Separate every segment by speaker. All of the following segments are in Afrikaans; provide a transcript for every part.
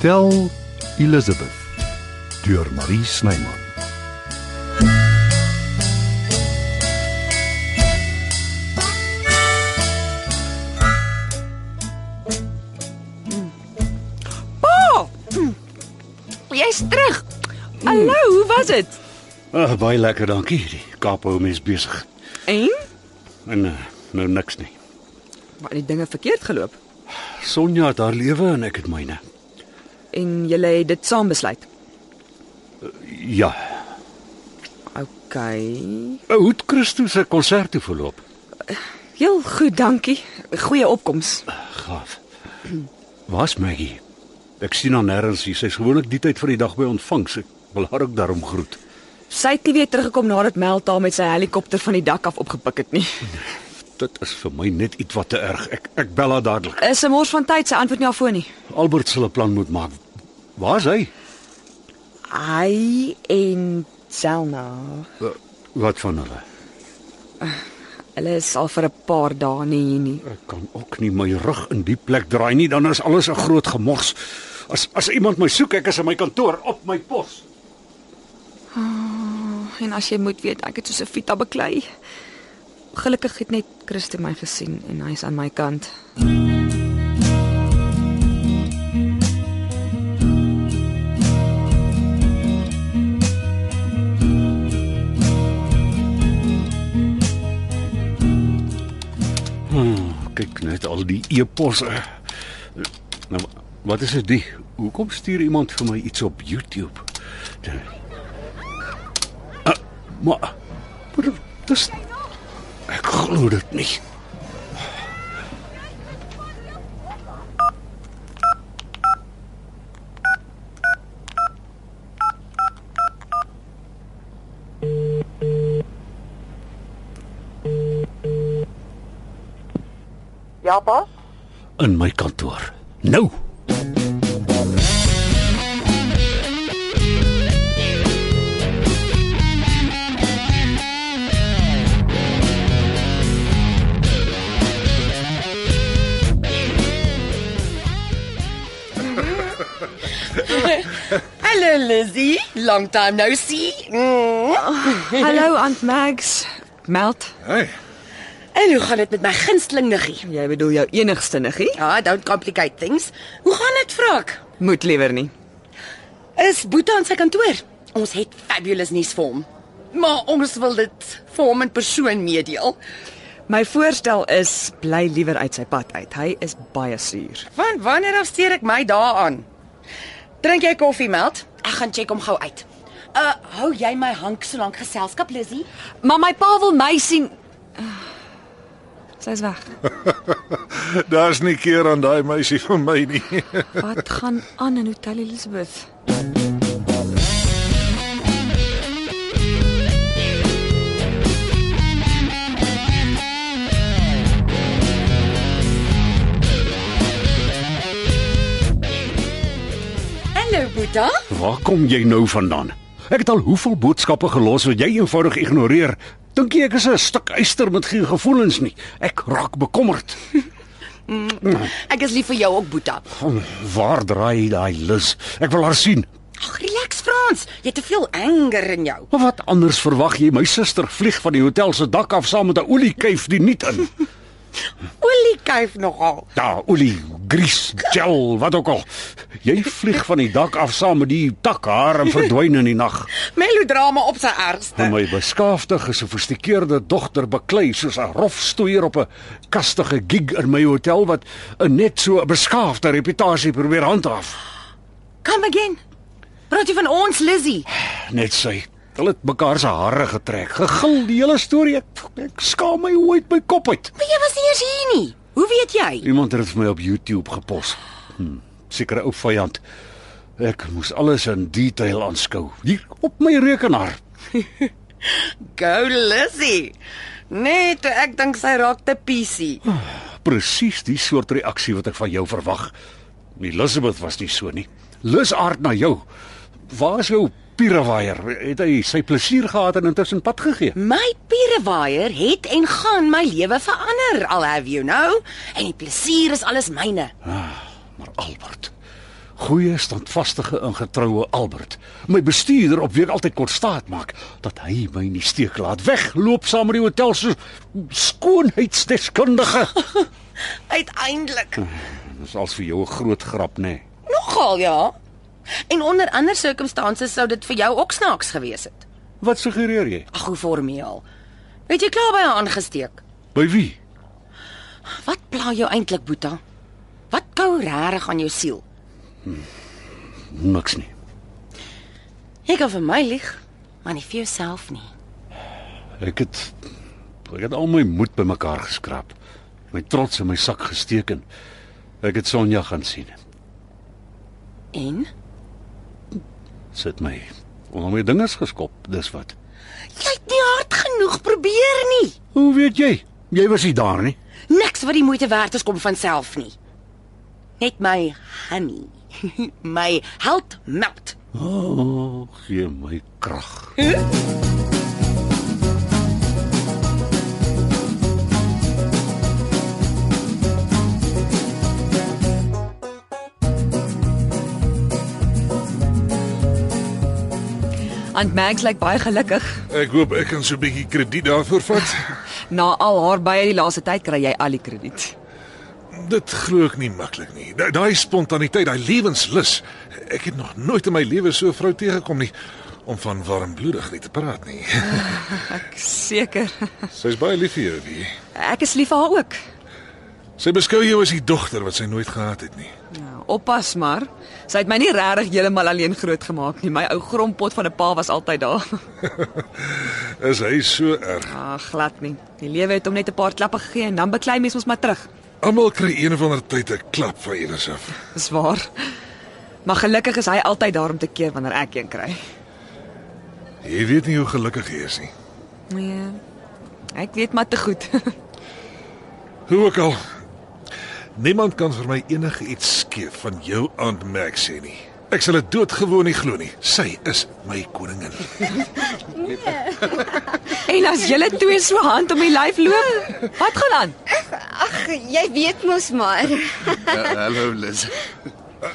Speaker 1: Tel Elizabeth deur Marie Snyman.
Speaker 2: Pa! Jy's terug. Hallo, hoe was dit?
Speaker 3: Ag, baie lekker, dankie. Die Kaap hou mens besig.
Speaker 2: En?
Speaker 3: En eh, nou niks nie.
Speaker 2: Maar die dinge verkeerd geloop
Speaker 3: Sonja het haar lewe en ek het myne.
Speaker 2: en jy het dit saam besluit.
Speaker 3: Ja.
Speaker 2: OK.
Speaker 3: Ou Eh, het Christus se konsert toe verloop.
Speaker 2: Heel goed, dankie. Goeie opkoms.
Speaker 3: Gaaf. Waar's Maggie? Ek sien haar nêrens hier. Sy's gewoonlik die tyd van die dag by ontvangs. Ek wil haar ook daarom groet.
Speaker 2: Sy het nie weer teruggekom nadat Melta met sy helikopter van die dak af opgepik het nie.
Speaker 3: Dit is vir my net ietwat te erg. Ek ek bel haar dadelik.
Speaker 2: Is 'n mors van tyd, sy antwoord nie haar foon nie.
Speaker 3: Albert sal 'n plan moet maak. Waar's hy?
Speaker 2: Hy en Selna.
Speaker 3: Eh, Wat van hulle?
Speaker 2: Hulle is al vir 'n paar dae nie hier nie.
Speaker 3: Ek kan ook nie my rug in die plek draai nie, dan is alles 'n groot gemors. As as iemand my soek, ek is in my kantoor op my pos.
Speaker 2: En as jy moet weet, ek het soos 'n vita beklei. Gelukkig het net Christo my gesien en hy's aan my kant.
Speaker 3: Kyk net al die e-posse. Nou wat is dit? die? Hoekom stuur iemand vir my iets op YouTube? Uh, maar maar dis ek glo dit nie.
Speaker 4: Ja, pa.
Speaker 3: in my kantoor. Nou.
Speaker 5: Hallo Lizzy, long time no see. Mm.
Speaker 2: Hallo Aunt Mags. Meld,
Speaker 6: Hey,
Speaker 5: En hoe gaan dit met my gunsteling niggie?
Speaker 2: jy bedoel jou enigste niggie?
Speaker 5: Ja, don't complicate things. Hoe gaan dit vrak?
Speaker 2: Moet liewer nie.
Speaker 5: Is Boeta aan sy kantoor? Ons het fabulous nuus vir hom. Maar ons wil dit vir hom in persoon meedeel.
Speaker 2: My voorstel is bly liewer uit sy pad uit. Hy is baie suur.
Speaker 5: Van wanneer af steur ek my daaraan? Drink jy koffie, Meld? Ek gaan check hom gou uit. Uh, hou jy my hank so lank geselskap, Lizzy?
Speaker 2: Maar my pa wil my sien. Sy's weg.
Speaker 6: daar's nie keer aan daai meisie van my nie.
Speaker 2: Wat gaan aan in Hotel Elizabeth?
Speaker 5: Hallo Boeta.
Speaker 3: Waar kom jy nou vandaan? Ek het al hoeveel boodskappe gelos wat jy eenvoudig ignoreer. Dink jy ek is 'n stuk yster met geen gevoelens nie? Ek raak bekommerd.
Speaker 5: Ek is lief vir jou ook, Boeta.
Speaker 3: Van waar draai daai lus? Ek wil haar sien.
Speaker 5: Ag, relax Frans. Jy het te veel anger in jou.
Speaker 3: Maar wat anders verwag jy? My suster vlieg van die hotel se dak af saam met 'n oliekuif die niet in.
Speaker 5: Olie kuif nogal.
Speaker 3: Ja, olie, gries, gel, wat ook al. Jy vlieg van die dak af saam met die takhaar en verdwyn in die nag.
Speaker 5: Melodrama op sy ergste.
Speaker 3: En my beskaafde, gesofistikeerde dogter beklei soos 'n rofstoeier op 'n kastige gig in my hotel wat 'n net so 'n beskaafde reputasie probeer handhaaf.
Speaker 5: Kom again. Praat jy van ons Lizzy?
Speaker 3: Net sy. Hulle het mekaar se hare getrek, gegil die hele storie. Ek, ek skaam my hoe uit my kop uit.
Speaker 5: Maar jy was nie eers hier nie. Hoe weet jy?
Speaker 3: Iemand het dit vir my op YouTube gepos. Hm, sekere ou vyand. Ek moes alles in detail aanskou. Hier op my rekenaar.
Speaker 5: Go Lizzy. Nee, toe ek dink sy raak te PC.
Speaker 3: presies die soort reaksie wat ek van jou verwag. Elizabeth was nie so nie. Lusaard na jou. Waar is jou pirewaier? Het hy sy plesier gehad en intussen pad gegee?
Speaker 5: My pierewaier het en gaan my lewe verander, I'll have you know. En die plesier is alles myne.
Speaker 3: Ah, maar Albert. Goeie, standvastige en getroue Albert. My bestuurder op wie ek altyd kon staat maak dat hy my nie steek laat wegloop saam met die hotel se skoonheidsdeskundige.
Speaker 5: Uiteindelik.
Speaker 3: Dis als vir jou 'n groot grap, nê? Nee.
Speaker 5: Nogal ja. En onder ander circumstances sou dit vir jou ook snaaks gewees het.
Speaker 3: Wat suggereer jy?
Speaker 5: Ag, hoe formeel. Weet jy klaar by haar aangesteek?
Speaker 3: By wie?
Speaker 5: Wat pla jou eintlik, Boeta? Wat kou regtig aan jou siel?
Speaker 3: Niks nie.
Speaker 5: Jy kan vir my lieg, maar nie vir jouself nie.
Speaker 3: Ek het ek het al my moed bymekaar geskraap. My trots in my sak gesteek en ek het Sonja gaan sien.
Speaker 5: En
Speaker 3: Sit my onder my dingers geskop, dis wat.
Speaker 5: jy het nie hard genoeg probeer nie.
Speaker 3: Hoe weet jy? Jy was nie daar nie.
Speaker 5: Niks wat die moeite werd is kom van self nie. Net my honey. my held melt.
Speaker 3: O, oh, gee my krag.
Speaker 2: Aunt Mags lyk baie gelukkig.
Speaker 6: Ek hoop ek kan so 'n bietjie krediet daarvoor vat.
Speaker 2: Na al haar baie die laaste tyd kry jy al die krediet.
Speaker 6: Dit glo ek nie maklik nie. Da daai spontaniteit, daai lewenslus. Ek het nog nooit in my lewe so 'n vrou tegekom nie om van warmbloedig nie te praat nie.
Speaker 2: Ek seker.
Speaker 6: Sy's baie lief vir jou, wie.
Speaker 2: Ek is lief vir haar ook.
Speaker 6: Sy beskou jou as die dogter wat sy nooit gehad het nie.
Speaker 2: Nou, oppas maar. Sy het my nie regtig heeltemal alleen grootgemaak nie. My ou grompot van 'n pa was altyd daar.
Speaker 6: Is hy so erg?
Speaker 2: Ag, Ah, glad nie. Die lewe het hom net 'n paar klappe gegee en dan beklei mens mos maar terug.
Speaker 6: Almal kry een of ander tyd 'n klap van iewers af.
Speaker 2: Dis waar. Maar gelukkig is hy altyd daar om te keer wanneer ek een kry.
Speaker 6: Jy weet nie hoe gelukkig jy is nie.
Speaker 2: Nee. Ek weet maar te goed.
Speaker 6: Hoe ook al. Niemand kan vir my enige iets skeef van jou Aunt Mag sê nie. Ek sal dit doodgewoon nie glo nie. Sy is my koningin.
Speaker 2: en as julle twee so hand om die lyf loop, wat gaan aan?
Speaker 4: Ag, jy weet mos maar.
Speaker 7: Hallo Liz.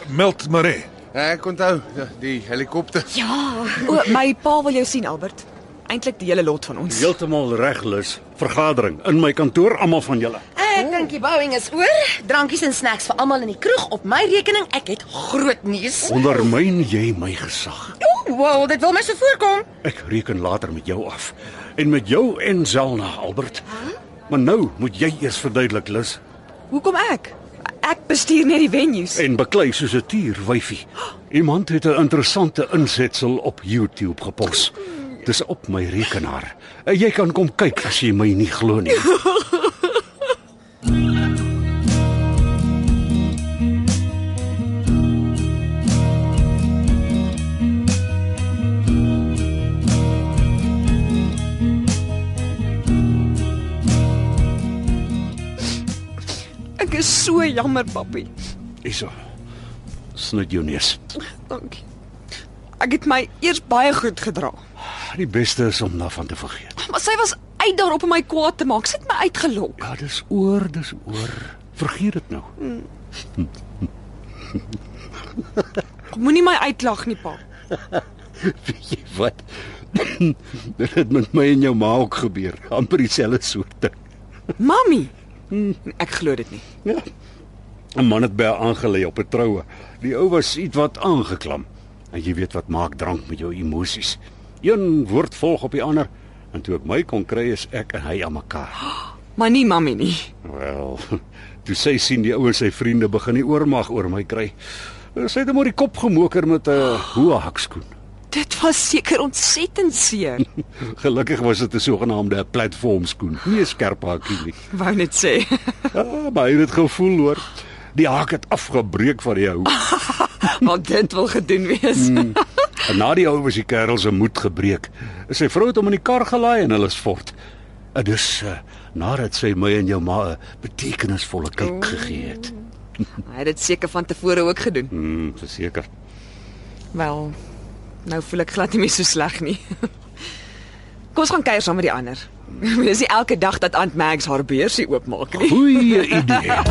Speaker 6: Meld Maree.
Speaker 7: Ek onthou ja, die helikopter.
Speaker 4: Ja,
Speaker 2: O, my pa wil jou sien, Albert. Eintlik die hele lot van ons.
Speaker 3: Heeltemal reg lus. Vergadering in my kantoor almal van julle.
Speaker 5: Ek dink die bouing is oor. Drankies en snacks vir almal in die kroeg op my rekening. Ek het groot nuus.
Speaker 3: Ondermyn jy my gesag.
Speaker 5: Oh, wow, dit wil my so voorkom.
Speaker 3: Ek reken later met jou af en met jou en Zelna Albert. Maar nou moet jy eers verduidelik lus
Speaker 2: Hoekom ek? Ek bestuur net die venues.
Speaker 3: en beklei soos 'n tier wyfie. Iemand het 'n interessante insetsel op YouTube gepos. Dis op my rekenaar. En Jy kan kom kyk as jy my nie glo nie.
Speaker 2: Ek is so jammer, papi.
Speaker 3: Hyso. Snit jou neus.
Speaker 2: Dankie. Ek het my eers baie goed gedra.
Speaker 3: Die beste is om daarvan te vergeet.
Speaker 2: Maar sy was uit daarop om my kwaad te maak. Sy het my uitgelok.
Speaker 3: Ja, dis oor, dis oor. Vergeet dit nou.
Speaker 2: Moenie my uitlag nie, pa.
Speaker 3: Weet jy wat? dit het met my en jou ma ook gebeur. amper dieselfde soorte.
Speaker 2: Mamy. Hm, Ek glo dit nie.
Speaker 3: Ja. 'n Man het by haar aangelê op 'n troue. Die ou was ietwat aangeklam. En jy weet wat maak drank met jou emosies. Een woord volg op die ander en toe ek my kon kry is ek en hy aan mekaar.
Speaker 2: Maar nie mamy nie.
Speaker 3: Wel, toe sy sien die ou en sy vriende begin die oormag oor my kry. Sy het hom oor die kop gemoker met 'n hoë hakskoen.
Speaker 2: Dit was seker ontsettend seer.
Speaker 3: Gelukkig was dit 'n sogenaamde platformskoen, nie 'n skerp hakie nie.
Speaker 2: Wou net sê.
Speaker 3: Ah, maar hy het dit gevoel hoor. Die haak het afgebreek van die ou.
Speaker 2: Want dit wil gedoen wees.
Speaker 4: Hm.
Speaker 3: En na die ou was die kerel se moed gebreek. Sy vrou het hom in die kar gelaai en hulle is voort. En dus uh, nadat sy my en jou ma 'n betekenisvolle kyk gegee het.
Speaker 2: Hy het dit seker van tevore ook gedoen.
Speaker 4: Hm.
Speaker 3: Mm, verseker.
Speaker 2: Wel, nou voel ek glad nie meer so sleg nie. Kom ons gaan kuier saam met die ander.
Speaker 4: Hm.
Speaker 2: Dis nie elke dag dat Aunt Mags haar beursie oopmaak nie.
Speaker 3: Goeie idee.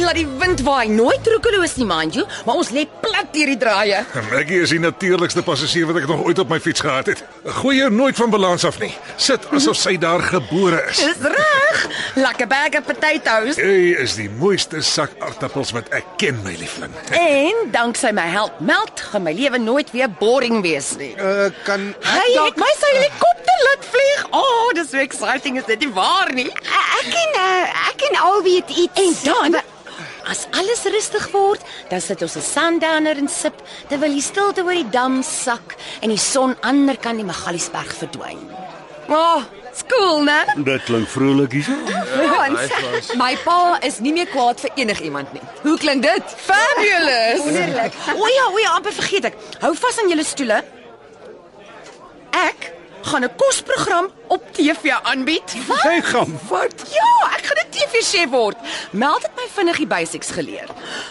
Speaker 5: laat die wind waai, nooit roekeloos nie, mind you, maar ons lê plat deur die draaie.
Speaker 6: Maggie is die natuurlikste passasier wat ek nog ooit op my fiets gehad het. Gooi jou nooit van balans af nie. Sit asof sy daar gebore is.
Speaker 5: Dis reg. Lekker bag of potatoes.
Speaker 6: Jy is die mooiste sak aartappels wat ek ken, my liefling.
Speaker 5: En danksy my help meld, gaan my lewe nooit weer boring wees nie.
Speaker 8: Eh,
Speaker 7: Uh, kan
Speaker 5: Hy het my sy helikopter laat vlieg. O, oh, dis so exciting, is dit nie waar nie?
Speaker 4: Ek en uh, ek en al weet iets.
Speaker 5: En dan as alles rustig word, dan sit ons 'n sundowner en sip terwyl die stilte oor die dam sak en die son aan die ander kant die Magaliesberg verdwyn. O, oh,
Speaker 2: Ah,
Speaker 5: skool, né?
Speaker 3: Dit klink vrolik hier.
Speaker 2: Frans, Nou, my pa is nie meer kwaad vir enigiemand nie. Hoe klink dit?
Speaker 5: Fabulous. Wonderlik. O ja, o ja, amper vergeet ek. Hou vas aan julle stoele. Ek gaan 'n kosprogram op TV aanbied. Wat?
Speaker 3: Sy gaan wat?
Speaker 5: Ja, ek gaan 'n TV-chef word. Meld het my vinnig die basics geleer.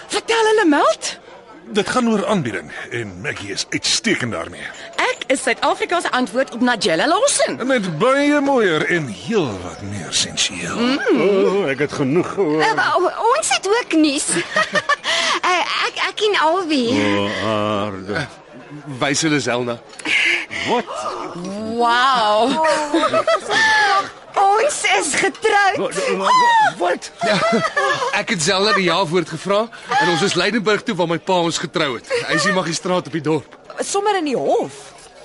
Speaker 5: Vertel hulle Meld,
Speaker 6: Dit gaan oor aanbieding en Maggie is uitstekend daarmee.
Speaker 5: ek is Suid-Afrika se antwoord op Nigella Lawson.
Speaker 6: En Met baie mooier en heelwat meer sensueel. Mm.
Speaker 3: Oh, ek het genoeg
Speaker 5: Mm. Eh,
Speaker 3: gehoor.
Speaker 4: Uh, o- ons het ook nuus. uh, ek ek en Alwie.
Speaker 3: Oh,
Speaker 8: Eh,
Speaker 3: aarde.
Speaker 7: wys hulle Selna.
Speaker 3: Wat?
Speaker 5: Wow.
Speaker 4: Ons is getroud.
Speaker 3: Wat? wat- Wat?
Speaker 8: Ek het Zelda die jaarwoord gevra en ons is Leidenburg toe waar my pa ons getrou het. Hy is die magistraat op die dorp.
Speaker 2: Sommer in die hof.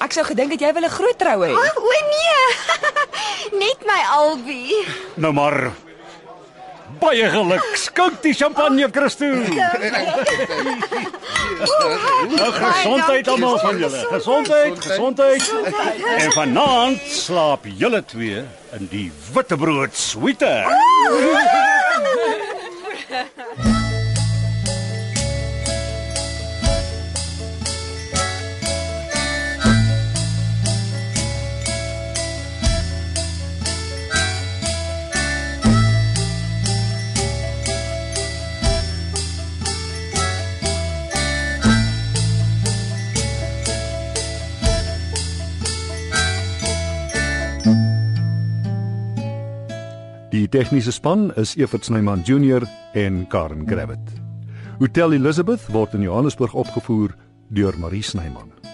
Speaker 2: Ek sou gedink dat jy wil 'n groot troue hê.
Speaker 4: O nee. Net my Alwie.
Speaker 3: Nou maar. Baie geluk. Skink die champagne, Christo. Ja, Nou gesondheid almal van julle. Gesondheid, gesondheid. En vanaand slaap julle twee in die witbrood suite.
Speaker 1: Die tegniese span is Evert Snyman Junior en Karen Gravett. Hotel Elizabeth word in Johannesburg opgevoer deur Marie Snyman.